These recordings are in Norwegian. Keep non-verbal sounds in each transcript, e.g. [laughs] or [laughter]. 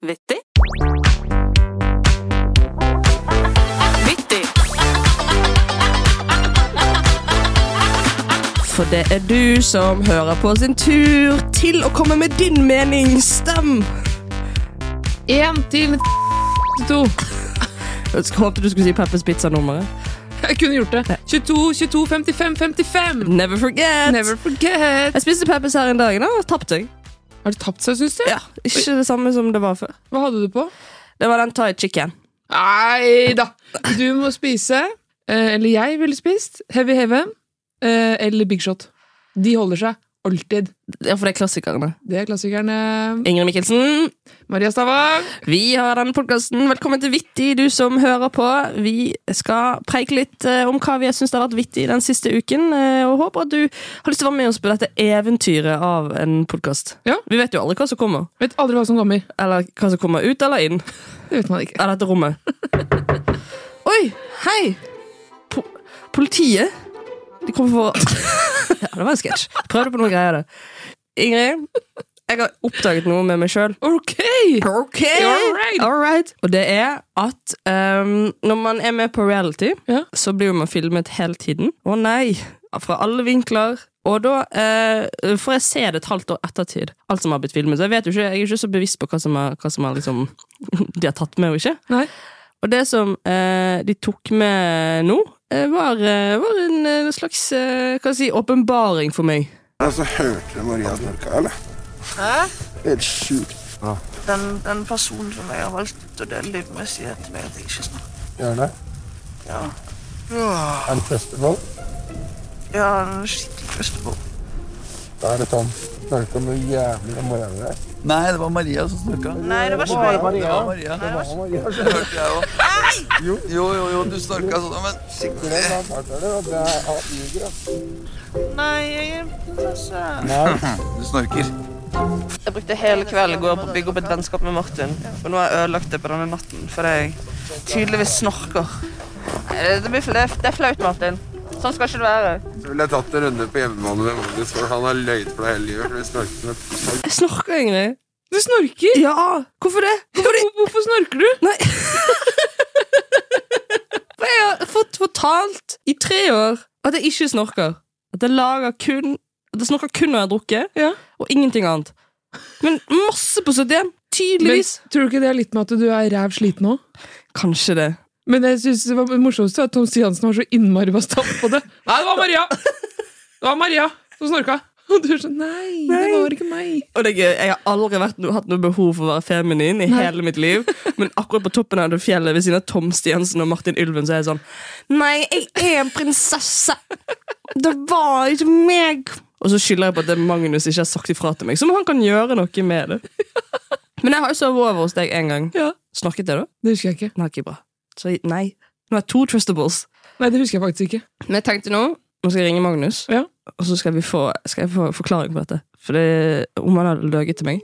Vittig. Vittig. For det er du som hører på sin tur til å komme med din mening. Stem! Én til to. Jeg håpet du skulle si Peppers Pizza-nummeret. Jeg kunne gjort det. 22, 22, 55, 55. Never forget! Never forget. Jeg spiste Peppers her en dag i dag og tapte. jeg. Har det tapt seg, syns du? Ja, ikke det samme som det var før. Hva hadde du på? Det var den Thai chicken. Nei da! Du må spise, eh, eller jeg ville spist, Heavy Heaven eh, eller Big Shot. De holder seg alltid. Ja, for det er klassikerne. Det er klassikerne. Ingrid Mikkelsen, Maria Stavang. vi har denne podkasten. Velkommen til Vittig, du som hører på. Vi skal preike litt eh, om hva vi syns har vært vittig den siste uken, eh, og håper at du har lyst til å være med oss på dette eventyret av en podkast. Ja. Vi vet jo aldri hva som kommer. Vet aldri hva som kommer. Eller hva som kommer ut eller inn Det vet man ikke. av dette rommet. Oi! Hei! Po politiet? De kommer for [laughs] Ja, det var en sketsj. Prøvde på noen greier, det. Ingrid, jeg har oppdaget noe med meg sjøl. Ok! Ok! All right. All right. Og det er at ehm, når man er med på reality, Ja. så blir man filmet hele tiden. Å nei! Fra alle vinkler. Og da eh, får jeg se det et halvt år ettertid, alt som har blitt filmet. Så jeg vet jo ikke, jeg er ikke så bevisst på hva som er, hva som er liksom, [laughs] de har tatt med og ikke. Nei. Og det som eh, de tok med nå, eh, var, eh, var en eh, slags eh, hva skal jeg si, åpenbaring for meg. Og så Altså, hørte du Maria snorka, eller? Hæ? Helt sjukt. den, den personen som jeg har valgt å dele livet med, sier til meg at jeg ikke snakker. Gjør det? Ja. Er det festival? Jeg har en skikkelig festival. Da er det sånn. Snakker om noe jævlig om morgenen der. Nei, det var Maria som snakka. Nei, det var ikke meg. Det var Maria. Det Ja, Maria, så hørte jeg òg. Jo, jo, jo, jo, du snakka sånn, men sikkert det. Da tar det, og det er alt ljuger, ass. Nei, jeg er prinsesse. Du snorker. Jeg brukte hele kvelden i går på å bygge opp et vennskap med Martin. Og nå har jeg ødelagt det på denne natten, fordi jeg tydeligvis snorker. Eh, Det, blir, fl- det, er- det er flaut, Martin. Sånn skal ikke det være. Så ville jeg tatt en runde på hjemmebane med Magnus, for han har løyet for deg hele livet. for du snorker med Jeg snorker, Ingrid. Du snorker! Ja! Hvorfor det? Hvor- Hvorfor snorker du? Nei [laughs] For jeg har fått fortalt i tre år at jeg ikke snorker. At jeg lager kun At jeg snorker kun når jeg har drukket, Ja. og ingenting annet. Men masse på 71. Men, Tydeligvis. tror du ikke det er litt med at du er ræv sliten òg? Kanskje det. Men jeg synes det var morsomst at Tom Stiansen var så innmari bastant på [laughs] det. Nei, det var Maria! Det var Maria som snorka. [laughs] Og du er sånn nei, det var ikke meg. Og det er gøy, Jeg har aldri vært, no- hatt noe behov for å være feminin i hele mitt liv. Men akkurat på toppen av det fjellet ved siden av Tom Stiansen og Martin Ulven, så er jeg sånn Nei, jeg er en prinsesse! Det var ikke meg! Og så skylder jeg på at det Magnus ikke har sagt ifra til meg. Som om han kan gjøre noe med det. Men jeg har jo sovet over hos deg en gang. Ja. Snakket jeg da? Det husker jeg ikke. Nei, ikke bra. Så jeg- nei. Nå har jeg to trustables. Nei, det husker jeg faktisk ikke. Men jeg tenkte nå Nå skal jeg ringe Magnus, Ja. og så skal, vi få, skal jeg få forklaring på dette. For det, om han hadde løyet til meg.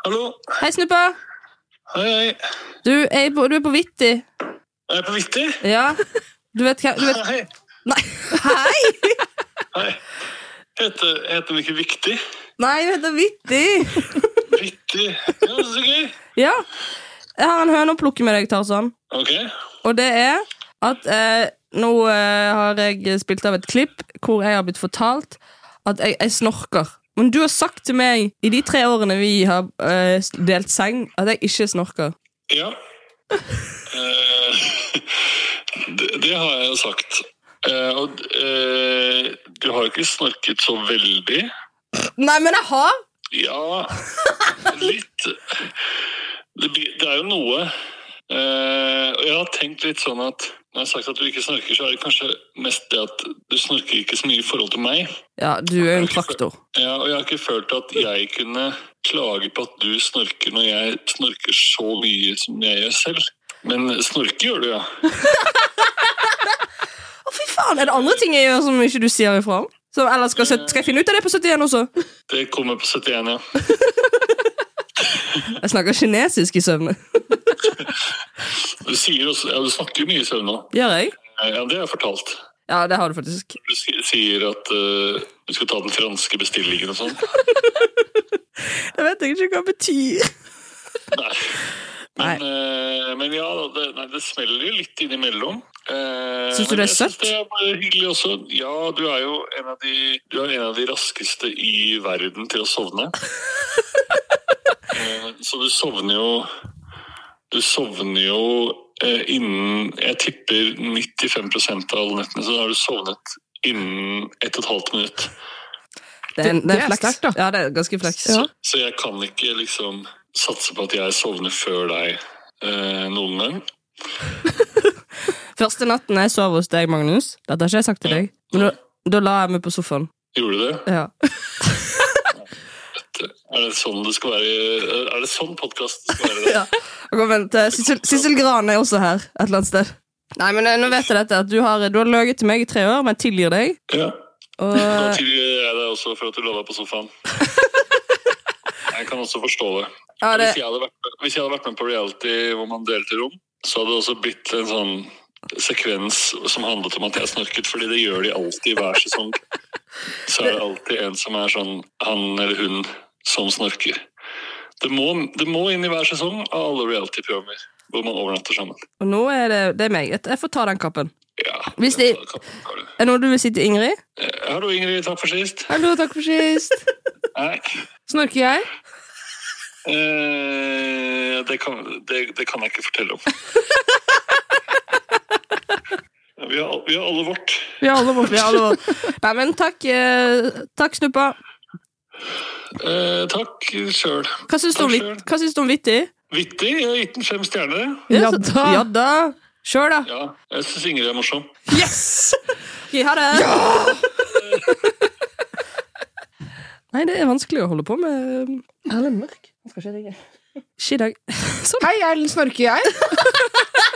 Hallo. Hei, Snuppa! Hei, hei. Du er på, du er på Vittig. Er jeg på Vittig? Ja. Du vet hva du vet, Hei. Nei! Hei! hei. Heter, heter den ikke Viktig? Nei, du heter Vittig! Vittig. Ja, så gøy. Ja. Jeg har en høne å plukke med deg, Tarzan. Ok. Og det er at eh, nå eh, har jeg spilt av et klipp hvor jeg har blitt fortalt at jeg, jeg snorker. Men du har sagt til meg i de tre årene vi har eh, delt seng, at jeg ikke snorker. Ja. Eh, [laughs] det, det har jeg jo sagt. Eh, og eh, du har jo ikke snorket så veldig. Nei, men jeg har! Ja, litt. Det, blir- det er jo noe. Eh, og jeg har tenkt litt sånn at når jeg har sagt at du ikke snorker, så er det kanskje mest det at du snorker ikke så mye i forhold til meg. Ja, du er jo en traktor. Ja, og jeg har ikke følt at jeg kunne klage på at du snorker når jeg snorker så mye som jeg gjør selv. Men snorke gjør du, ja. Å, fy faen! Er det andre ting jeg gjør som ikke du sier ifra om? Som ellers skal, jeg- skal jeg finne ut av det på 71 også? Det kommer på 71, ja. Jeg snakker kinesisk i søvne. Du, sier også, ja, du snakker jo mye i søvn nå. Gjør jeg? Ja, det har jeg fortalt. Ja, det har du faktisk. Du si- sier at eh, du skal ta den franske bestillingen og sånn. Jeg vet ikke hva det betyr. Nei. Men, eh, men ja, da, det, nei, det smeller jo litt innimellom. Uh, Syns du det er søtt? Det er bare hyggelig også. Ja, du er jo en av de, du er en av de raskeste i verden til å [laughs] sovne. Eh, så du sovner jo Du sovner jo eh, innen Jeg tipper 95 av alle nettene, så har du sovnet innen 1 12 minutt. Det er, en- det Det er er flaks. sterkt, da. Ja, det er ganske flaks. Ja. Så jeg kan ikke liksom satse på at jeg sovner før deg eh, noen gang. Første natten jeg sov hos deg, Magnus Dette har ikke jeg sagt til deg. Men da, da la jeg meg på sofaen. Gjorde du det? Ja. Er det sånn det skal være? Er det sånn podkast skal være? [laughs] Ja. Og kom, vent, eh, Sissel Sissel Gran er også her et eller annet sted. Nei, men eh, nå vet jeg dette at Du har, du har løyet til meg i tre år, men jeg tilgir deg. Ja. Og Nå tilgir jeg deg også for at du lå deg på [laughs] sofaen. Jeg kan også forstå det. ja, det, Hvis jeg hadde vært, hvis jeg hadde vært med på reality hvor man delte rom, så hadde det også blitt en sånn sekvens som handlet om at jeg snorket, fordi det gjør de alltid i hver sesong. Så er det alltid en som er sånn han eller hun som snorker. Det må, det må inn i hver sesong av alle reality-programmer hvor man overnatter sammen. og nå er det, det er meg. Jeg- Jeg får ta den kappen. Ja, Hvis de- den tar kappen, tar du. Er det noe du vil si til Ingrid? Eh, Hallo, Ingrid. Takk for sist. Hallo, takk for sist. Nei. Snorker jeg? Eh, det, kan, det, det kan jeg ikke fortelle om. Vi har, vi har alle vårt. Vi har alle vårt. Vi har alle vårt. Nei, men takk, eh, takk Snuppa. Eh, takk sjøl. Hva syns du om Takk Vit- hva syns du om Vittig? Vittig. Jeg har gitt den fem stjerner. Ja da. Ja da. Kjør, da. Ja, jeg syns Ingrid er morsom. Yes! Ok, ha det. Nei, det er vanskelig å holde på med Erlend Mørk. Han skal ikke ringe. Ikke i dag. [laughs] Sånn. Hei, Erlend, snorker jeg?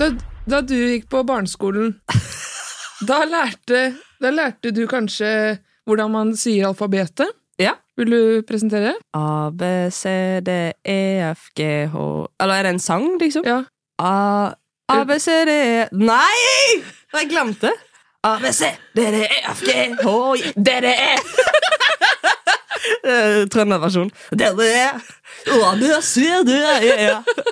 Da, da du gikk på [laughs] barneskolen, da lærte, da lærte du kanskje hvordan man sier alfabetet? Ja. Vil du presentere? A, B, C, D, E, F, G, H Eller er det en sang, liksom? Ja. A, A, B, C, D, E Nei! Jeg glemte. A, B, C, D, D, E, F, G, H, I, D, D, E. [laughs] Eh, Trønderversjon. D, D, E. A, B, C, D, E, E.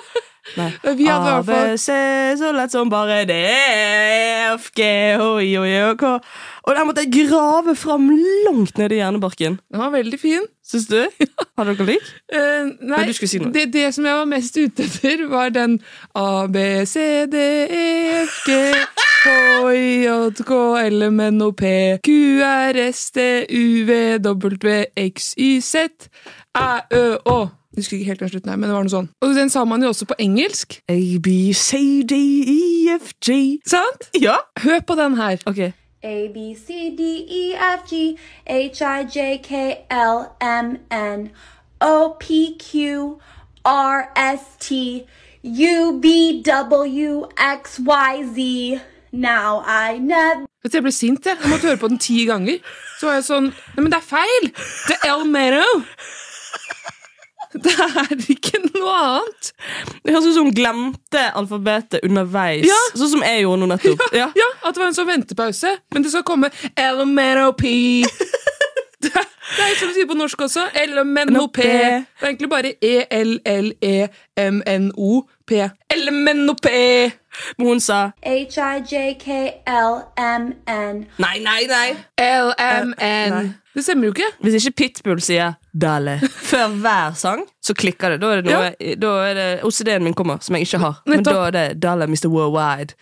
Nei. Vi hadde i A, hvert B, fall C, så lett som bare D, E, F, G, H, I, O, J, O, K. Og der måtte jeg grave fram langt ned i hjernebarken. Den var veldig fin. Syns [laughs] du? Har dere lik? Eh, nei, du skulle si noe. det, det som jeg var mest ute etter, var den A, B, C, D, E, F, G, H, I, J, K, L, M, N, O, P, Q, R, S, T, U, V, W, X, Y, Z, Æ, Ø, Å. Jeg husker ikke helt den slutten her, men det var noe sånn. Og den sa man jo også på engelsk, A, B, C, D, E, F, G sant? Ja? Hør på den her. Ok. A B C D E F G H I J K L M N O P Q R S T U B W X Y Z. Now I never. Vet du, jeg ble sint, jeg. Jeg måtte høre på den ti ganger. Så var jeg sånn Nei, men det er feil! Det er El Mero! Det er ikke noe annet. Det høres ut som hun glemte alfabetet underveis. Ja. Sånn som jeg gjorde nå nettopp. Ja. Ja, at det var en sånn ventepause. Men det skal komme LMNOP. Det, er- det er jo som vi sier på norsk også. LMNOP. Det E er egentlig bare E-L-L-E-M-N-O-P. LMNOP. Men hun sa H I J K L M N. nei, nei, nei. LMN. Det stemmer jo ikke. Hvis ikke Pitbull sier [laughs] 'Dale' før hver sang, så klikker det. Da er det, noe, da er det OCD-en min kommer, som jeg ikke har. Men Nettopp. da er det 'Dale Mr. Worldwide'.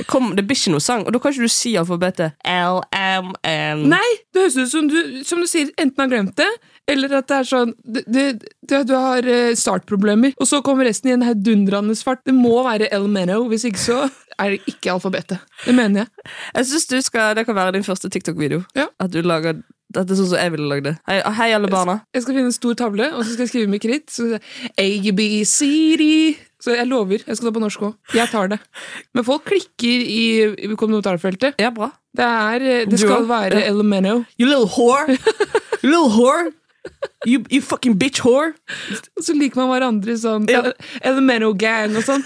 Det, kom, det blir ikke noe sang, og da kan ikke du si alfabetet LMN. Nei, det høres ut som du, som du sier, enten har glemt det, eller at det er sånn det, det, det, Du har eh, startproblemer, og så kommer resten i en heidundrende fart. Det må være El Meno, hvis ikke så er det ikke alfabetet. Det mener jeg. Jeg synes du skal, Det kan være din første TikTok-video. Ja. At du lager Dette er sånn som jeg ville lagd det. Hei, hei, alle barna. Jeg skal finne en stor tavle, og så skal jeg skrive med kritt. Så skal jeg, A, B, C, D. Så jeg lover. Jeg skal ta på norsk òg. Jeg tar det. Men folk klikker i i kommentarfeltet. Ja, bra. Det, er, eh, det Du skal òg? være El Meno. You little whore! You little whore! You, you fucking bitch whore! Og så liker man hverandre sånn. Ja. El Meno gang og [laughs] sånn.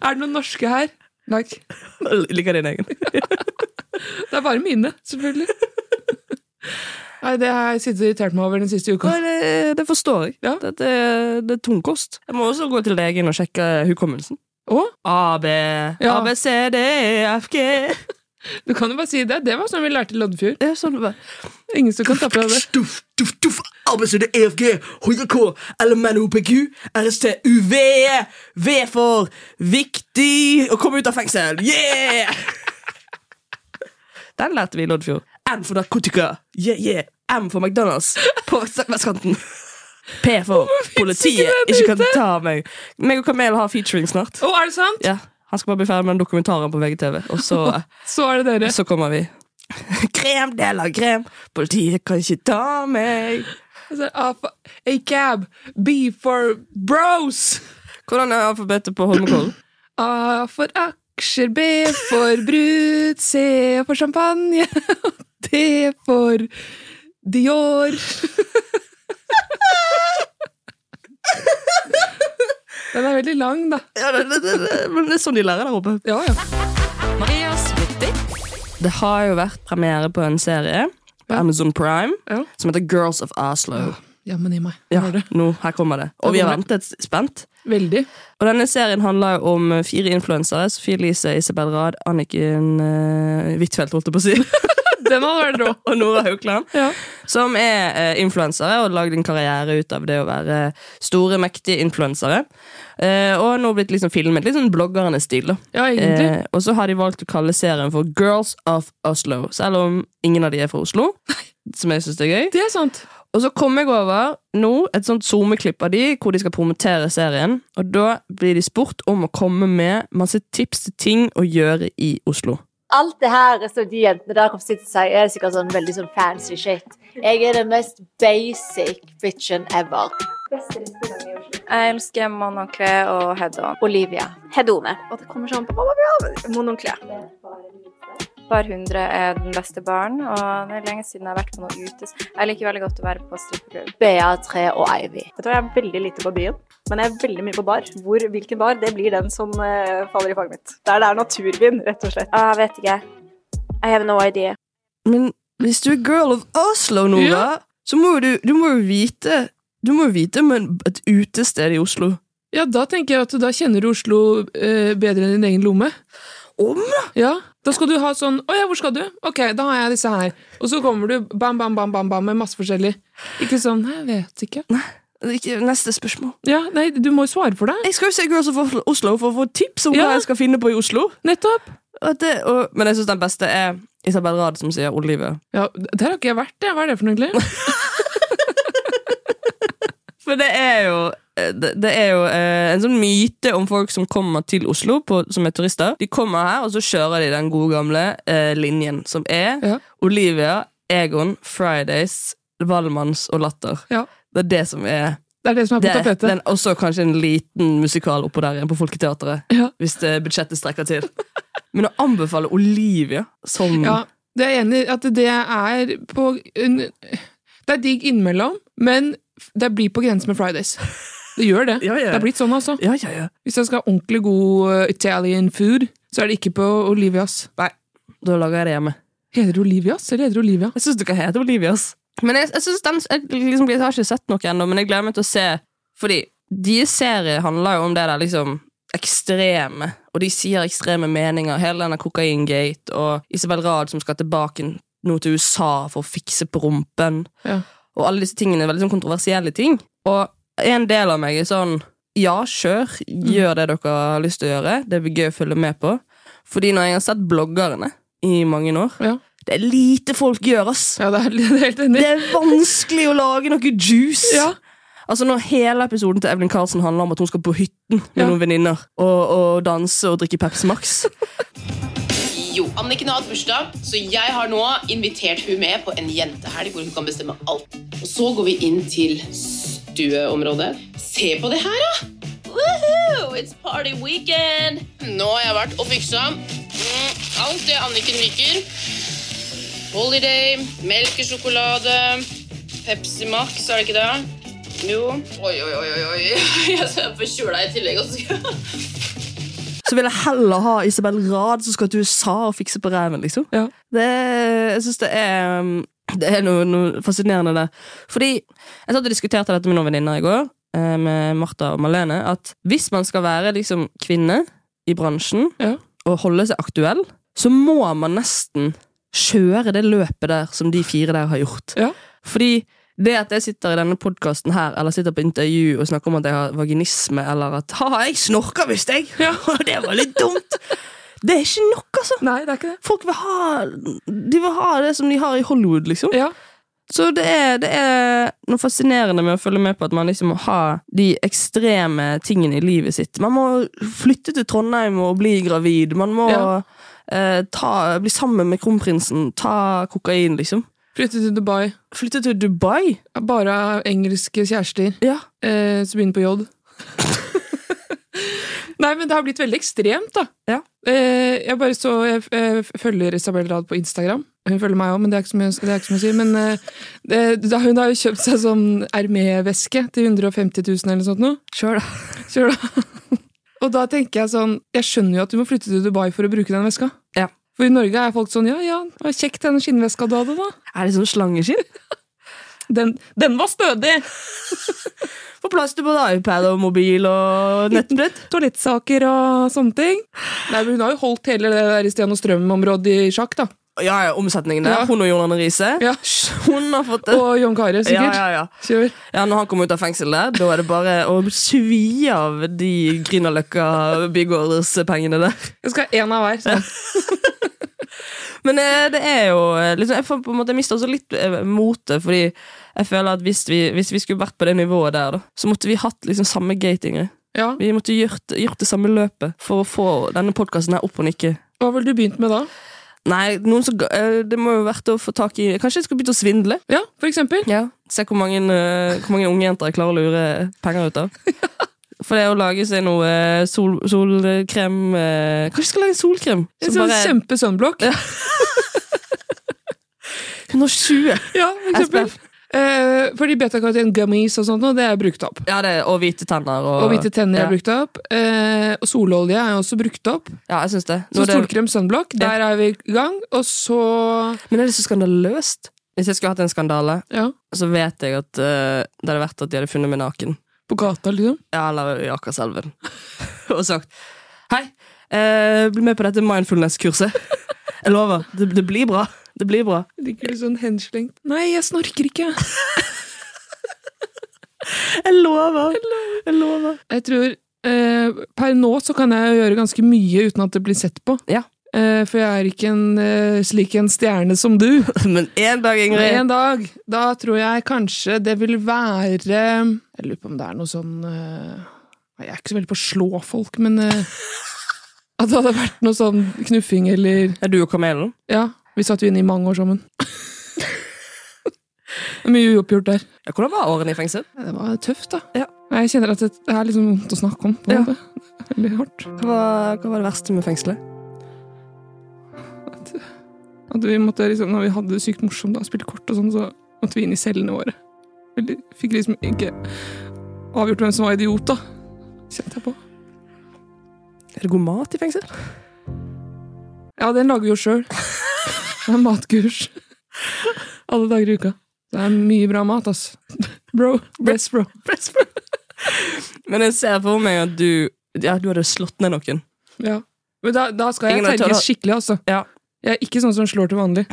er det noen norske her? Like. Liker din egen. Det er bare mine, selvfølgelig. Nei, Det har jeg sittet og irritert meg over den siste uka. Nei, eh, det, det forstår jeg. Ja. Det, det, det er tungkost. Jeg må også gå til legen og sjekke hukommelsen. Og A, B, Ja. A, B, C, D, E, F, G. du kan jo bare si det. Det var sånn vi lærte i Loddefjord. Det er sånn det var. Ingen som kan ta fra det. Stuff, duff, duff. A, B, C, D, E, F, G. HJK. LMN, OPQ. RST, UV. V for viktig å komme ut av fengsel. Yeah! [laughs] Den lærte vi i Loddfjord. M for narkotika. Yeah, yeah. M for McDonald's på vestkanten. P for politiet. Ikke kan ta meg. Meg og Kamel har featuring snart. Å, er det sant? Ja, Han skal bare bli ferdig med den dokumentaren på VGTV, og [laughs] så, Så er det dere. så kommer vi. Krem deler krem, politiet kan ikke ta meg. Altså, A for A-cab. B for bros. Hvordan er alfabetet på Holmenkollen? A for aksjer. B for brud. C for champagne. [laughs] D for Dior. [laughs] Den er veldig lang, da. Ja, det, det, det, det, men det er sånn de lærer der oppe. Ja, ja. Marias vittig. Det har jo vært premiere på en serie på Amazon Prime Ja. som heter Girls of Oslo. Jammen i meg. Ja, Var det? nå, her kommer det. Og vi har ventet spent. Veldig. Og denne serien handler jo om fire influensere. Sofie Elise, Isabel Rad, Anniken eh, Huitfeldt, holdt jeg på å si. Den hadde vært rå. [laughs] og Nora Haukeland. Ja. Som er eh, influensere og har lagd en karriere ut av det å være store, mektige influensere. Eh, og har nå blitt liksom filmet litt sånn bloggernes stil. da. Ja, egentlig. Eh, og så har de valgt å kalle serien for Girls of Oslo, selv om ingen av de er fra Oslo. Som jeg synes er gøy. Det er sant. Og så kom jeg over nå et sånt zoomeklipp av de hvor de skal promotere serien. Og da blir de spurt om å komme med masse tips til ting å gjøre i Oslo. Alt det her som de jentene der sitter og sier, er sikkert sånn veldig sånn fancy shit. Jeg er den mest basic bitchen ever. Jeg elsker monokle og head-on. Olivia. Hedone. Og det kommer sånn Monokle. Bar 100 er den beste baren, og det er lenge siden jeg har vært på noe ute. Jeg liker veldig godt å være på strippeklubb. BA3 og Ivy. Vet du hva, jeg er veldig lite på byen, men jeg er veldig mye på bar. Hvor, hvilken bar, det blir den som eh, faller i fanget mitt. Der det er naturvin, rett og slett. Ah, jeg vet ikke. I have no idea. Men hvis du er girl of Oslo, Nora, Ja. så må jo du, du må jo vite Du må jo vite om en- et utested i Oslo. Ja, da tenker jeg at da kjenner du Oslo eh, bedre enn din egen lomme. Om? Ja, Da skal du ha sånn Å ja, hvor skal du? Ok, da har jeg disse her. Og så kommer du bam, bam, bam, bam, bam med masse forskjellig. Ikke sånn Nei, jeg vet [laughs] ikke. Altså, Ikke- Neste spørsmål. Ja, nei, du må jo svare for deg. Jeg skal jo se Girls of Oslo for å få tips om Ja. hva jeg skal finne på i Oslo. Nettopp. Og at det, og, men jeg syns den beste er Isabel Rad som sier Olive. Ja, Der har ikke jeg vært, jeg. Hva er det for noe, egentlig? [laughs] For det er jo det, det er jo eh, en sånn myte om folk som kommer til Oslo på, som er turister. De kommer her, og så kjører de den gode gamle eh, linjen, som er Ja. Olivia, Egon, Fridays, Valmanns og Latter. Ja. Det er det som er Det er det som er det, på tapetet. den, Også kanskje en liten musikal oppå der igjen på Folketeatret. Ja. Hvis det budsjettet strekker til. Men å anbefale Olivia som Ja, det er jeg enig i at det er på en, Det er digg innimellom, men det blir på grensen med Fridays. Det gjør det. Ja, ja. Det er blitt sånn, altså. ja, ja, ja. Hvis jeg skal ha ordentlig god eh, Italian food, så er det ikke på Olivias. Nei, da lager jeg det hjemme. Heter det Olivias, eller heter det Olivia? Jeg syns du kan hete Olivias. Men jeg, jeg, synes den, jeg, liksom, jeg har ikke sett noe ennå, men jeg gleder meg til å se. Fordi deres serie handler jo om det der liksom ekstreme, og de sier ekstreme meninger. Hele denne kokaingate og Isabel Rad som skal tilbake nå til USA for å fikse på rumpen. Ja. Og alle disse tingene er veldig sånn kontroversielle ting. Og en del av meg er sånn Ja, kjør. Gjør det dere har lyst til å gjøre. Det blir gøy å følge med på. Fordi når jeg har sett bloggerne i mange år Det er lite folk gjør, ass. det, er, [laughs] helt enig. det er vanskelig å lage noe juice. Altså Når hele episoden til Evelyn Carlsen handler om at hun skal på hytten med noen venninner og, og danse og drikke Pepsi Max Jo, Anniken har hatt bursdag, så jeg har nå invitert hun med på en jentehelg hvor hun kan bestemme alt. Og så går vi inn til stueområdet. Se på det her, da! Woohoo! It's party weekend! Nå har jeg vært og fiksa mm, alt det Anniken liker. Holiday, melkesjokolade, Pepsi Max, er det ikke det? Jo. Oi, oi, oi, oi, [laughs] oi. Jeg er forkjøla i tillegg. og så- Så vil jeg heller ha Isabel Rad som skal til USA og fikse på ræven, liksom. Det, jeg synes det er um, Det er noe, noe fascinerende der. Fordi jeg satt og diskuterte dette med noen venninner i går, eh, med Martha og Malene, at hvis man skal være liksom kvinne i bransjen og holde seg aktuell, så må man nesten kjøre det løpet der som de fire der har gjort. Fordi det at jeg sitter i denne podkasten her, eller sitter på intervju og snakker om at jeg har vaginisme, eller at ha, jeg snorker visst, jeg! [laughs] Og det var litt dumt! Det er ikke nok, altså! Folk vil ha, de vil ha det som de har i Hollywood, liksom. Så det er, det er noe fascinerende med å følge med på at man liksom må ha de ekstreme tingene i livet sitt. Man må flytte til Trondheim og bli gravid. Man må Ja. eh, ta, bli sammen med kronprinsen. Ta kokain, liksom. Flytte til Dubai. Flytte til Dubai? Bare engelske kjærester eh, som begynner [laughs] på J. Nei, men det har blitt veldig ekstremt, da. Eh, jeg bare så jeg, eh, følger Isabel Rad på Instagram. Hun følger meg òg, men det er ikke så mye, det er ikke så mye å si. Men eh, det, da, hun har jo kjøpt seg sånn Hermé-veske til 150 000 eller noe sånt. nå. Kjør da. Kjør da. [laughs] Og da tenker jeg sånn Jeg skjønner jo at du må flytte til Dubai for å bruke den veska. For i Norge er folk sånn Ja, ja, det var kjekt den skinnveska du hadde, da. Er det sånn slangeskinn? Den, den var stødig! Få plass til både iPad og mobil og nettbrett. [laughs] Toalettsaker og sånne ting. Nei, men Hun har jo holdt hele det der Stian og Strøm-området i sjakk, da. Ja, ja, omsetningen der. Ja. Hun og Jon Arne Riise. Hun har fått det. Og John Carew, sikkert. Ja, ja, ja. Ja, når han kommer ut av fengsel der, da er det bare å svi av de Grünerløkka bygårdspengene der. Jeg skal ha én av hver. Sånn. Men eh, det er jo eh, liksom, Jeg får på en måte mister også litt eh, motet, fordi jeg føler at hvis vi, hvis vi skulle vært på det nivået der, da, så måtte vi hatt liksom samme gating. Vi måtte gjort, gjort det samme løpet for å få denne podkasten opp og nikke. Hva ville du begynt med da? Nei, noen som, ga- eh, Det må jo vært å få tak i Kanskje jeg skal begynne å svindle? Ja, for eksempel. Se hvor mange, eh, hvor mange unge jenter jeg klarer å lure penger ut [laughs] av. For det å lage seg noe eh, sol, solkrem eh, Kanskje jeg skal lage en solkrem? En sånn kjempe sunblock. [laughs] 120. Ja, for [laughs] eksempel. Eh, fordi betakaroten gummies og sånt, nå, det er brukt opp. Ja, det, og hvite tenner. Og, Og hvite tenner Ja. er brukt opp. Eh, og sololje er også brukt opp. Ja, jeg synes det. Så Nå er det- solkrem sunblock, der er vi i gang. Og så Men er det så skandaløst? Hvis jeg skulle hatt en skandale, Ja. så vet jeg at eh, det hadde vært at de hadde funnet meg naken. På gata, liksom? Ja, eller i Akerselven. [laughs] og sagt Hei, eh, bli med på dette [laughs] mindfulness-kurset. Jeg lover. Det, det blir bra. Det blir bra. ligger det sånn henslengt Nei, jeg snorker ikke! jeg lover! Jeg lover. Jeg tror eh, Per nå så kan jeg gjøre ganske mye uten at det blir sett på. Eh, for jeg er ikke en, eh, slik en stjerne som du. [laughs] Men en dag, Ingrid. En dag. Da tror jeg kanskje det vil være Jeg lurer på om det er noe sånn eh, nei, Jeg er ikke så veldig på å slå folk, men [laughs] eh, At det hadde vært noe sånn knuffing eller Er du og kamelen? Ja. Vi satt jo inne i mange år [laughs] sammen. Det er Mye uoppgjort der. Ja, Hvordan var årene i fengsel? Det var tøft, da. Nei, Jeg kjenner at det det er liksom vondt å snakke om. På en måte. Veldig hardt. Hva, var- hva var det verste med fengselet? At vi måtte liksom, når vi hadde det sykt morsomt og spilte kort og sånn, så måtte vi inn i cellene våre. Eller fikk liksom ikke avgjort hvem som var idiot, da. Kjente jeg på. Er det god mat i [laughs] fengsel? Ja, den lager vi jo [laughs] sjøl. Det er matkurs. Alle dager i uka. Det er mye bra mat, ass. Bro. Best bro. Men jeg ser for meg at du Ja, du hadde slått ned noen. Ja. Men da, da skal jeg Ingen av tørre- terges skikkelig, altså. Jeg er ikke sånn som slår til vanlig.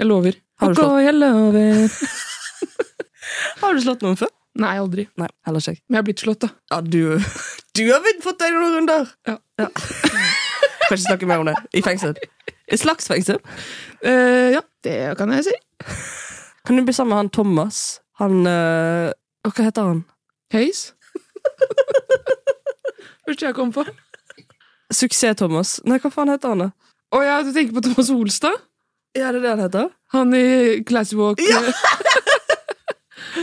Jeg lover. Har du Ok, slått? jeg lover. Har du slått noen før? Nei, aldri. Nei, heller ikke jeg. Men jeg har blitt slått, da. Ja, du, [laughs] du har vel fått deg noen runder! Ja. Kan ikke snakke mer om det. I fengsel. I slags fengsel. Eh, ja, det kan jeg si. Kan du bli sammen med han Thomas? Han eh, og Hva heter han? [laughs] Høys? Første jeg kom på. Suksess-Thomas. Nei, hva faen heter han, da? Å ja, du tenker på Thomas Holstad? Ja, det er det han heter. Han i Classy Walk.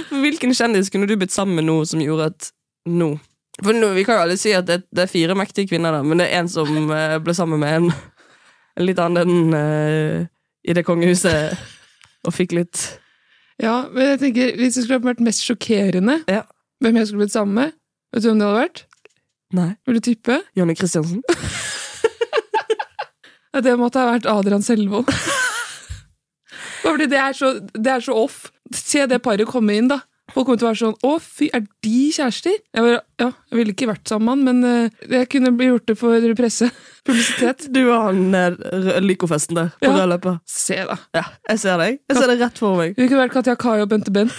Hvilken kjendis kunne du blitt sammen med nå som gjorde at nå? For nå, Vi kan jo alle si at det, det er fire mektige kvinner, da, men det er en som eh, ble sammen med en, en litt annen enn eh, i det kongehuset, og fikk litt [laughs] Ja, men jeg tenker, Hvis det skulle vært mest sjokkerende hvem jeg skulle blitt sammen med Vet du hvem det hadde vært? Nei. Vil du tippe? Jonny Christiansen. Ja, det måtte ha vært Adrian Selvold. Bare fordi det er, så, det er så off. Se det paret komme inn, da. Folk kommer til å være sånn 'Å, fy, er de kjærester?' Jeg, bare, ja, jeg ville ikke vært sammen med han, men eh, jeg kunne bli gjort det for presse. Publisitet. Du og han eh, rø- Lyco-festen der, på Ja. rød løper. Se, da. Ja, jeg ser deg. Jeg ser det rett for meg. Vi kunne vært Katja Kai og Bente Bent.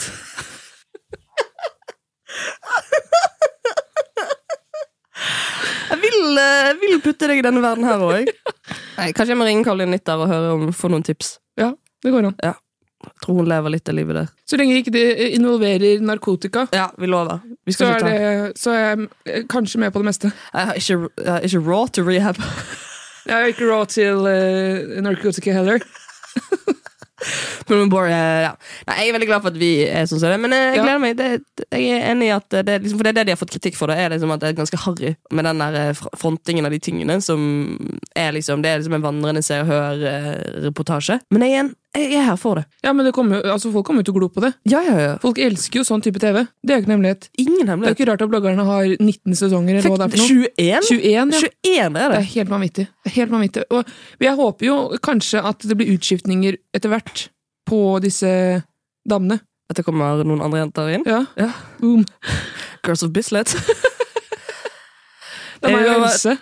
Jeg vil, eh, jeg vil putte deg i denne verden her òg. Kanskje jeg må ringe Karoline litt der og høre om få noen tips. Ja, det går an. Ja. Jeg tror hun lever litt av livet der. Så lenge ikke det eh, involverer narkotika, Ja, vi lover. Vi så skal er, ikke ta det, så er jeg eh, kanskje med på det meste. Jeg har ikke, jeg har ikke raw to rehab. [laughs] Jeg er ikke raw til eh, narkotika heller. Men bare, eh, ja. Nei, jeg er veldig glad for at vi er sånn som det, men eh, jeg Ja. gleder meg. Det, jeg er enig i at det, er liksom, For det er det de har fått kritikk for, det er liksom at det er ganske harry med den der eh, fr- frontingen av de tingene som er liksom Det er liksom en vandrende Se og Hør-reportasje. Men jeg er, en, jeg er her for det. Ja, men det kommer, jo- altså, Folk kommer jo til å glo på det. Ja, ja, ja. Folk elsker jo sånn type TV. Det er jo ikke en hemmelighet. Ingen Det er jo hemmelighet. ikke rart at bloggerne har 19 sesonger. eller hva det er for noe. 21? 21, ja. 21 er Det det. er helt vanvittig. Det er helt vanvittig. Og jeg håper jo kanskje at det blir utskiftninger etter hvert på disse damene. At det kommer noen andre jenter inn. Ja. Ja. Boom. Girls of Bislett. [laughs] Da må jeg Eh, jo hva- hilse.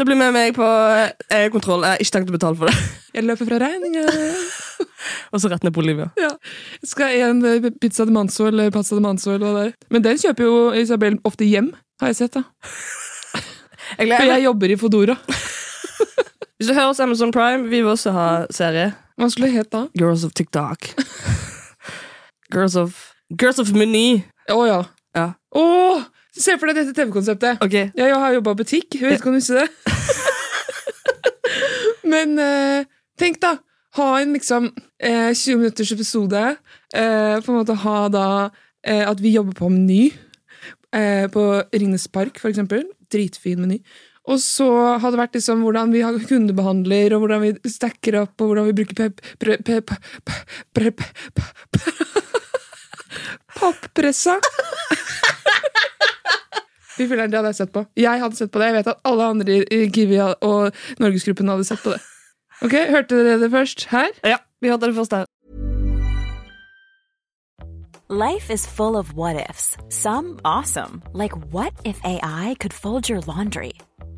Det blir med meg på eh, kontroll. Jeg har ikke tenkt å betale for det. Jeg løper fra regninga. Og så rett ned på Olivia. Ja. Skal en eh, pizza de manzo eller pasta de manzo eller hva det er. Men den kjøper jo Isabel ofte hjem, har jeg sett. da. Jeg For gleder meg. jeg jobber i Fodora. Hvis du hører oss Amazon Prime, vi vil også ha serie. Hva skulle det hett da? Girls of TikTok. [laughs] Girls of Girls of Meny. Å ja. Ja. Å! Se for deg dette TV-konseptet. Ok. Ja, jeg har jobba i butikk. Jeg vet ikke om du husker det. Men eh, tenk, da. Ha en liksom eh, 20 minutters episode. Eh, på en måte ha da eh, at vi jobber på Meny. Eh, på Ringnes Park, for eksempel. Dritfin Meny. Og så har det vært liksom hvordan vi har kundebehandler, og hvordan vi stacker opp, og hvordan vi bruker pep... Pre, pe, pe, pe, pre, pe, pe, Pappressa. Fy filleren, det hadde jeg sett på. Jeg hadde sett på det. Jeg vet at alle andre i- i Kiwi og Norgesgruppen hadde sett på det. Ok, Hørte dere det først her? Ja, vi hørte det først her. Life is full of what ifs. Some awesome, like what if AI could fold your laundry?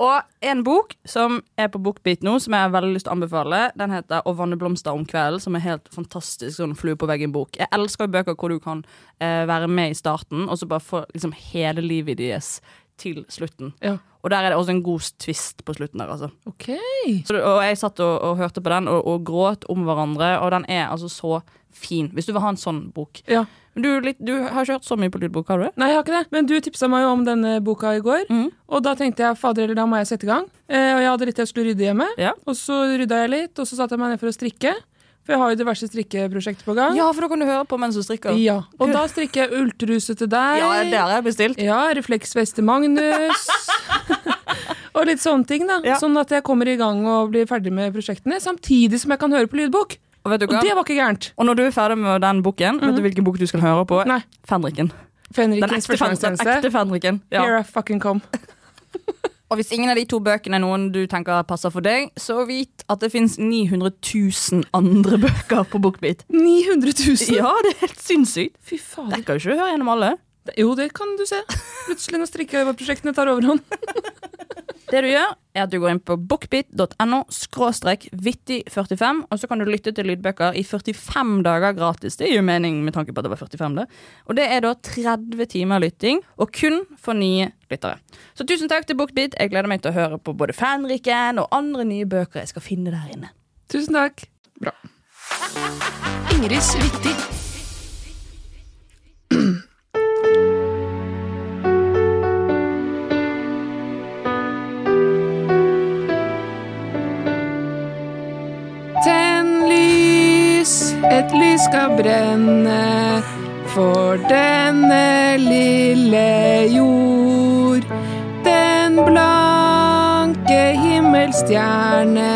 Og en bok som er på Bookbeat nå, som jeg har veldig lyst til å anbefale, den heter Å vanne blomster om kvelden, som er helt fantastisk sånn flue på veggen-bok. Jeg elsker jo bøker hvor du kan eh, være med i starten, og så bare få liksom hele livet deres til slutten. Ja. Og der er det også en god twist på slutten der, altså. Ok. Så, det- og jeg satt og, og hørte på den og, og gråt om hverandre, og den er altså så fin. Hvis du vil ha en sånn bok. Men Du, er litt, du har ikke hørt så mye på lydbok, har du det? Nei, jeg har ikke det. Men du tipsa meg jo om denne boka i går. Mm. Og da tenkte jeg fader eller da må jeg sette i gang. Eh, og jeg hadde litt jeg skulle rydde hjemme. Og så rydda jeg litt, og så satte jeg meg ned for å strikke. For jeg har jo diverse strikkeprosjekter på gang. Ja, for da kan du høre på mens du strikker. Ja, Og da strikker jeg ultruse til deg. Ja, det har jeg bestilt. Ja, refleksvest til Magnus. og litt sånne ting, da. Sånn at jeg kommer i gang og blir ferdig med prosjektene, samtidig som jeg kan høre på lydbok. Og, vet du hva? det var ikke gærent. Og når du er ferdig med den boken, vet du hvilken bok du skal høre på? Nei. Fenriken. Den Fenrikens ekte, fen, den førstegangstjeneste. ekte Fenriken. Ja. Here I fucking come. Og hvis ingen av de to bøkene er noen du tenker passer for deg, så vit at det fins 900 000 andre [laughs] bøker på Bookbeat. 900 000? Ja, det er helt sinnssykt. Fy fader. Rekker jo ikke å høre gjennom alle. Jo, det kan du se. Plutselig når strikkeprosjektene tar overhånd. Det du gjør, er at du går inn på bookbit.no skråstrek vittig45, og så kan du lytte til lydbøker i 45 dager gratis. Det gir jo mening med tanke på at det var 45, det. Og det er da 30 timer lytting, og kun for nye lyttere. Så tusen takk til Bookbit. Jeg gleder meg til å høre på både Fanriken og andre nye bøker jeg skal finne der inne. Tusen takk. Ingrids vittig. Tenn lys, et lys skal brenne for denne lille jord. Den blanke himmelstjerne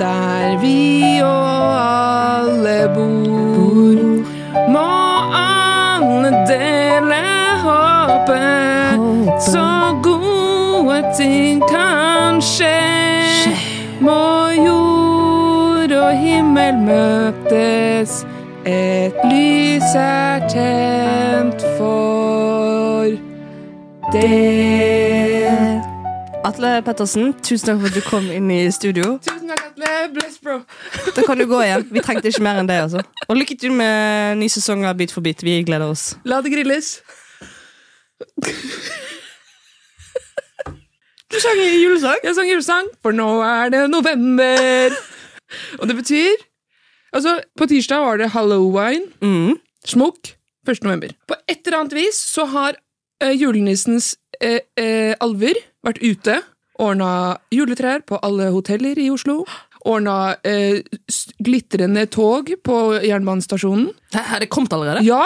der vi og alle bor. Må alle dele håpet, så gode ting kan skje. Må jord og himmel møtes, et lys er tent for det. Atle Pettersen, tusen takk for at du kom inn i studio. Tusen takk, Atle. Bless, bro. Da kan du gå igjen. Vi trengte ikke mer enn det. altså. Og lykke til med ny sesong av Bit for bit. Vi gleder oss. La det grilles. Du sang julesang? Jeg sang julesang, for nå er det november. Og det betyr Altså, på tirsdag var det halloween. Smokk. 1. november. På et eller annet vis så har eh, julenissens eh, eh, alver vært ute. Ordna juletrær på alle hoteller i Oslo. Ordna eh, s- glitrende tog på jernbanestasjonen. Har det kommet allerede? Ja!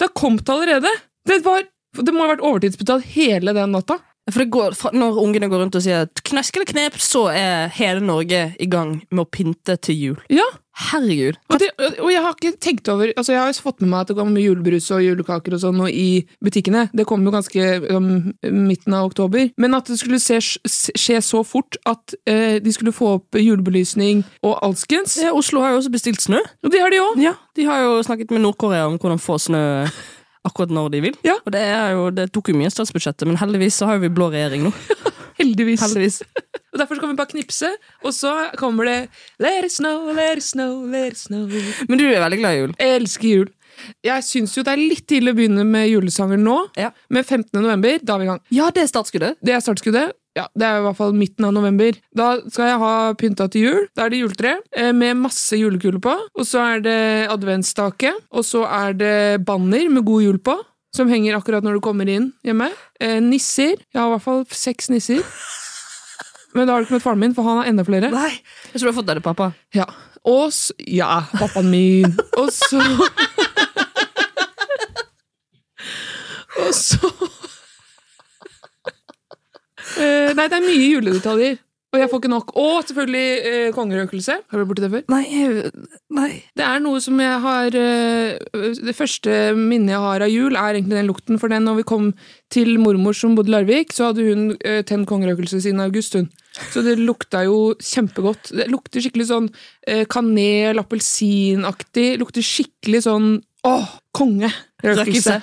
Det har kommet allerede. Det, var, det må ha vært overtidsbetalt hele den natta. For det går, fra- Når ungene går rundt og sier knask eller knep, så er hele Norge i gang med å pynte til jul. Ja. Herregud. Og, det, og jeg har ikke tenkt over altså Jeg har jo fått med meg at det kommer julebrus og julekaker og sånn og i butikkene. Det kom jo ganske um, midten av oktober. Men at det skulle se, skje så fort at eh, de skulle få opp julebelysning og alskens Ja, Oslo har jo også bestilt snø. Og det har de òg. Ja, de har jo snakket med Nord-Korea om hvordan få snø akkurat når de vil. Og det, er jo, det tok jo mye av statsbudsjettet, men heldigvis så har jo vi blå regjering nå. Heldigvis. [laughs] heldigvis. Og Derfor skal vi bare knipse, og så kommer det Let it snow, let it snow, let it snow. Men du er veldig glad i jul? Jeg elsker jul. Jeg syns jo det er litt tidlig å begynne med julesanger nå, men 15. november, da er vi i gang. Ja, det er startskuddet. Det er startskuddet. Ja, Det er i hvert fall midten av november. Da skal jeg ha pynta til jul. Da er det juletre eh, med masse julekuler på. Og så er det adventsstake. Og så er det banner med god jul på, som henger akkurat når du kommer inn hjemme. Eh, nisser. Jeg har i hvert fall seks nisser. Men da har du ikke møtt faren min, for han har enda flere. Nei, Jeg tror du har fått deg det, pappa. Ja. Og s- Ja, pappaen min. Og så Og så Eh, Nei, det er mye juledetaljer. Og jeg får ikke nok. Og selvfølgelig eh, kongerøkelse. Har du vært borti det før? Det er noe som jeg har eh, Det første minnet jeg har av jul, er egentlig den lukten. For den når vi kom til mormor som bodde i Larvik, så hadde hun eh, tent kongerøkelse siden august. hun. Så det lukta jo kjempegodt. Det lukter skikkelig sånn eh, kanel, appelsinaktig. Lukter skikkelig sånn åh, konge! Røkelse.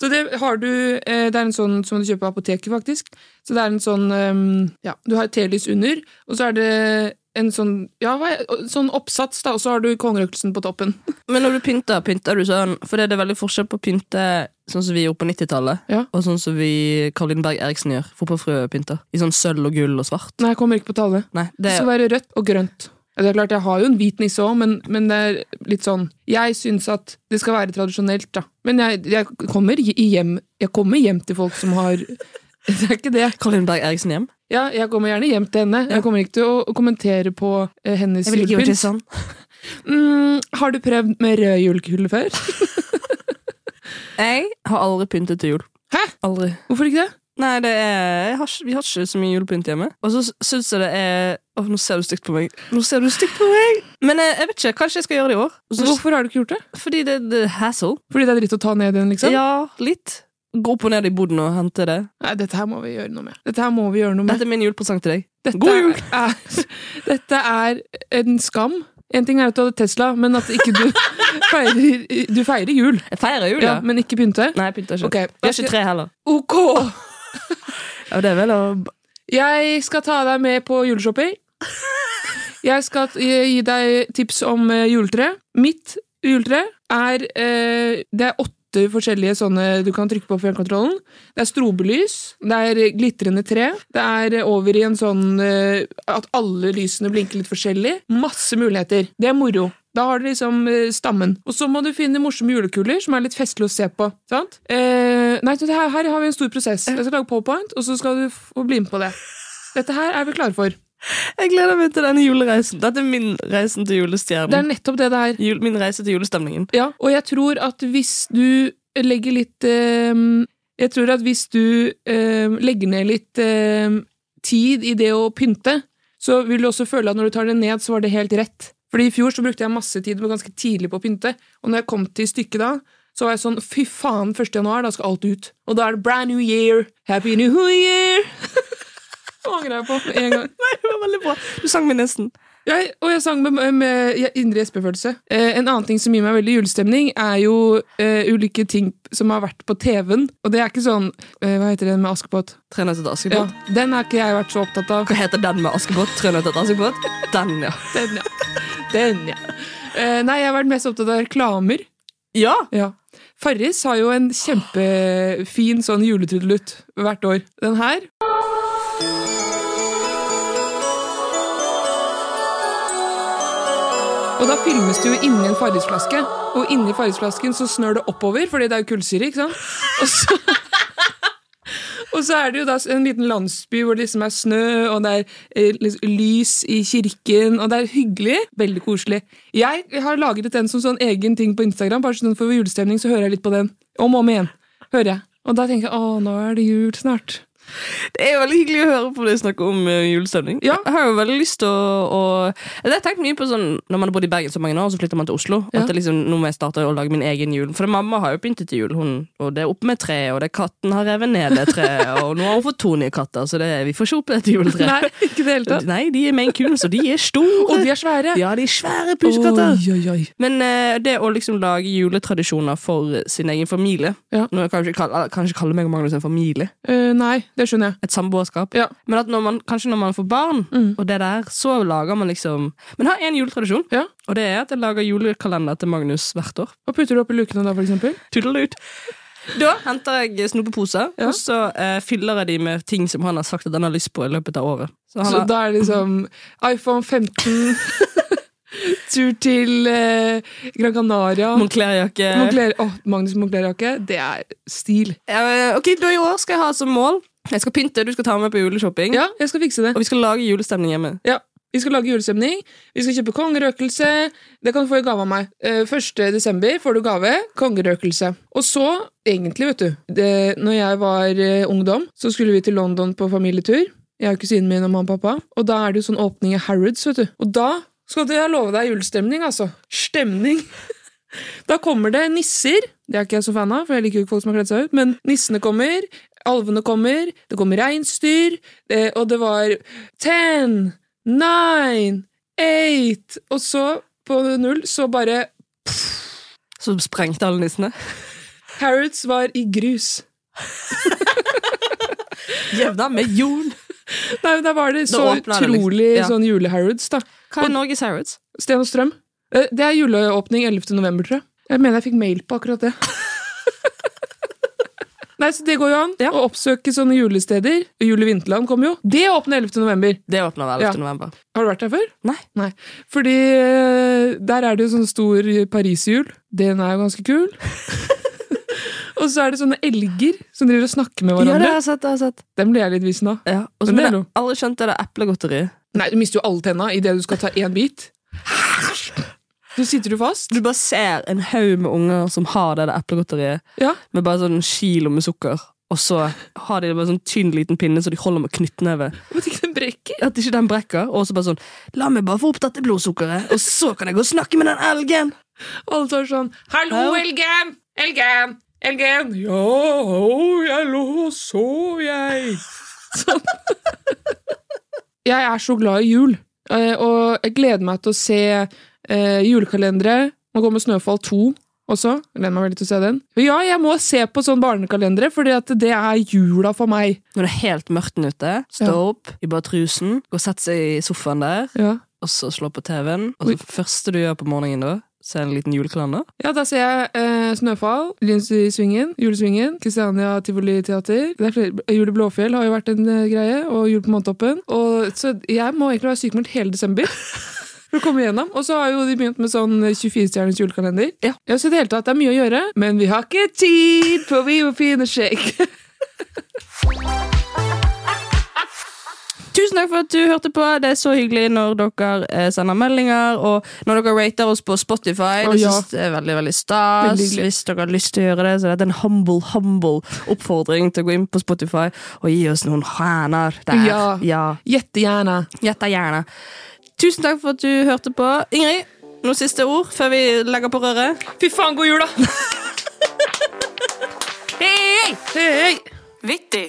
Så det har du eh, Det er en sånn som du ehm, kjøper på apoteket, faktisk. Så det er en sånn eh, Ja, du har et telys under, og så er det en sånn, ja, hva er- sånn oppsats, da, og så har du kongerøkelsen på toppen. Men når du pynter, pynter du sånn For det er veldig forskjell på å pynte sånn som vi gjorde på 90-tallet, og sånn som vi Caroline Berg Eriksen gjør. Fotballfrø pynter. I sånn sølv og gull og svart. Nei, jeg kommer ikke på tale. det Det er- skal være rødt og grønt. Ja, Det er klart, Jeg har jo en hvit nisse òg, men, men det er litt sånn Jeg syns at det skal være tradisjonelt, da. Men jeg, jeg, kommer, i hjem, jeg kommer hjem til folk som har Det er ikke det. Caroline Berg Eriksen hjem? Ja, jeg kommer gjerne hjem til henne. Jeg kommer ikke til å kommentere på eh, hennes Jeg vil ikke gjøre det sånn. Mm, har du prøvd med rød julekule [laughs] før? Jeg har aldri pyntet til jul. sånn. Hæ? Aldri. Hvorfor ikke det? Nei, det er, jeg har, ikke- Vi har ikke så mye julepynt hjemme. Og så syns jeg det er Åh, Nå ser du stygt på meg. Nå ser du stygt på meg! Men eh, jeg, jeg vet ikke. Kanskje jeg skal gjøre det i år. Hvorfor har du ikke gjort det? Fordi det, det er hassle. Fordi det er dritt å ta ned igjen, liksom? Ja, litt. Gå opp og ned i boden og hente det. Nei, dette her må vi gjøre noe med. Dette her må vi gjøre noe med. Dette er min julepresang til deg. Dette Er, [laughs] dette er en skam. En ting er at du hadde Tesla, men at ikke du [laughs] feirer, du feirer jul. Jeg feirer jul, ja. Men ikke pynte? Nei, jeg pynter ikke. Ok, Vi har ikke tre heller. Ok! Ja, det er vel å Jeg skal ta deg med på [laughs] juleshopping. Jeg skal t- gi deg tips om eh, juletre. Mitt juletre er eh, Det er åtte forskjellige sånne du kan trykke på på fjernkontrollen. Det er strobelys, det er glitrende tre, det er eh, over i en sånn eh, at alle lysene blinker litt forskjellig. Masse muligheter. Det er moro. Da har du liksom eh, stammen. Og så må du finne morsomme julekuler som er litt festlige å se på. sant? Eh, nei, det her, her har vi en stor prosess. Jeg skal lage powerpoint, og så skal du få bli med på det. Dette her er vi klare for. Jeg gleder meg til denne julereisen. Dette er min reisen til julestjernen. Det er nettopp det det er. Jul, min reise til julestemningen. [laughs] Ja, og jeg tror at hvis du legger litt eh, Jeg tror at hvis du eh, legger ned litt eh, tid i det å pynte, så vil du også føle at når du tar det ned, så var det helt rett. Fordi i fjor så brukte jeg masse tid med ganske tidlig på å pynte, og når jeg kom til stykket da, så var jeg sånn fy faen, 1. januar, da skal alt ut. Og da er det brand new year, happy new year! [laughs] Det angrer jeg på med en gang. Nei, det var veldig bra. Du sang med nesten. Jeg, og jeg sang med, med jeg- indre gjespefølelse. Eh, en annen ting som gir meg veldig julestemning, er jo eh, ulike ting som har vært på TV-en. Og det er ikke sånn eh, Hva heter den med Askepott? Tre nøtter til Ja, Askepott. den har ikke jeg vært så opptatt [laughs] av. Hva heter den med Askepott? Tre nøtter til [laughs] Askepott? Den, ja. Den, ja. Den, ja. Eh, nei, jeg har vært mest opptatt av reklamer. Ja! Farris har jo en kjempefin sånn juletrudelutt hvert år. Den her. Og da filmes det jo inni en farrisflaske, og inni farrisflasken så snør det oppover, fordi det er jo kullsyre, ikke sant? Og så, og så er det jo da en liten landsby hvor det liksom er snø, og det er eh, liksom lys i kirken, og det er hyggelig, veldig koselig. Jeg har lagret den som sånn egen ting på Instagram, bare sånn for julestemning så hører jeg litt på den, om og om igjen, hører jeg. Og da tenker jeg, å, nå er det jul snart. Det er jo veldig hyggelig å høre på deg snakke om eh, julestemning. Jeg har jo veldig lyst til å, å Jeg har tenkt mye på sånn Når man har bodd i Bergen så mange år, så flytter man til Oslo. Ja. At det liksom, nå må jeg starte å lage min egen jul. For mamma har jo pyntet til jul, hun, og det er oppe med treet, og det er katten har revet ned det treet, [laughs] og nå har hun fått to nye katter, så det, vi får ikke opp dette juletreet. [laughs] Nei, ikke det hele tatt. Nei, de er Maine Coons, og de er store. Og de er svære. Ja, de er svære pusekatter. Oi, oi, oi. Men eh, det å liksom lage juletradisjoner for sin egen familie Nå kan jeg ikke kalle, kan jeg ikke kalle meg og Magnus en familie. Eh, nei, det skjønner jeg. Et samboerskap. Men at når man, kanskje når man får barn, Mm. og det der, så lager man liksom Men har én juletradisjon, og det er at jeg lager julekalender til Magnus hvert år. Hva putter du opp i lukene da, for eksempel? Tuddelut. Da henter jeg snopeposer, og så eh, fyller jeg de med ting som han har sagt at han har lyst på i løpet av året. Så, han har- da er det liksom iPhone [laughs] 15 Tur til eh, Gran Canaria. Moncler-jakke. Moncler, Åh, Magnus Moncler-jakke. Det er stil. Eh, Ok, da i år skal jeg ha som mål Jeg skal pynte, du skal ta meg med på juleshopping Ja, jeg skal fikse det Og vi skal lage julestemning hjemme Ja, Vi skal lage julestemning. Vi skal kjøpe kongerøkelse. Det kan du få i gave av meg. Eh, 1. desember får du gave. Kongerøkelse. Og så, egentlig, vet du det, Når jeg var eh, ungdom, så skulle vi til London på familietur. Jeg og kusinen min og mamma og pappa. Og da er det jo sånn åpning i Harrods, vet du. Og da skal du, jeg love deg julestemning, altså. Stemning. Da kommer det nisser. Det er ikke jeg så fan av, for jeg liker jo ikke folk som har kledd seg ut. Men nissene kommer, alvene kommer, det kommer reinsdyr, eh, og det var ten, nine, eight Og så, på null, så bare Så sprengte alle nissene. Harrods var i grus. Jevna med jord. Nei, men Da var det Da så åpner det, liksom. utrolig Ja. sånn jule-Harrods, da. Hva er Og Norges Harrods? Sten og Strøm. Eh, Det er juleåpning 11. november, tror jeg. Jeg mener jeg fikk mail på [laughs] akkurat det. Nei, så Det går jo an å oppsøke sånne julesteder. Jul i Vinterland kommer jo. Det åpner 11. november. Det åpner 11. Ja. november. Har du vært der før? Nei. Fordi eh, der er det jo sånn stor pariserhjul. Den er jo [laughs] ganske kul. og så er det sånne elger som driver og snakker med Ja, det hverandre. har jeg sett. det har jeg sett. Dem ble jeg litt visen av. Ja. Og så Men ble det er jeg noe. aldri skjønt det der eplegodteriet. Nei, du mister jo alle tenna idet du skal ta én bit. Så sitter du fast. Du bare ser en haug med unger som har det der eplegodteriet, Ja. med bare sånn en kilo med sukker. Og så har de bare sånn tynn liten pinne så de holder med knyttneve. At ikke den brekker. At ikke den brekker. Og så bare sånn La meg bare få opp dette blodsukkeret, og så kan jeg gå og snakke med den elgen! Og alle tar sånn Hallo, Ja. elgen! Elgen! Elgen! Ja, å, jeg lå og sov, jeg. [laughs] Sånn. Jeg er så glad i jul, eh, og jeg gleder meg til å se eh, julekalendere. Nå kommer Snøfall 2 også. Jeg Gleder meg veldig til å se den. Men ja, jeg må se på sånn barnekalendere, fordi at det er jula for meg. Når det er helt mørkt ute, stå Ja. opp i bare trusen, gå og sette seg i sofaen der, Ja. og så slå på TV-en. Og så første du gjør på morgenen da, så er en liten julekalender. Ja, da ser jeg eh, Snøfall, Lindsvingen, Julesvingen, Kristiania Tivoli Teater. Det er flere, eh, Jul i Blåfjell har jo vært en eh, greie, og Jul på Månetoppen. Og, så jeg må egentlig være sykemeldt hele desember. For å komme igjennom. Og så har jo de begynt med sånn 24-stjerners julekalender. Ja. så i det hele tatt, det er mye å gjøre, men vi har ikke tid, for vi må finne skjegg. Tusen takk for at du hørte på. Det er så hyggelig når dere eh, sender meldinger, og når dere rater oss på Spotify. Å, Det ja. synes jeg er veldig veldig stas. Veldig hyggelig. Hvis dere har lyst til å gjøre det, så er det en humble, humble oppfordring til å gå inn på Spotify og gi oss noen stjerner der. Ja. Gjettegjerne. Gjettegjerne. Tusen takk for at du hørte på. Ingrid, noen siste ord før vi legger på røret? Fy faen, god jul, da! Hei! Hei! Vittig.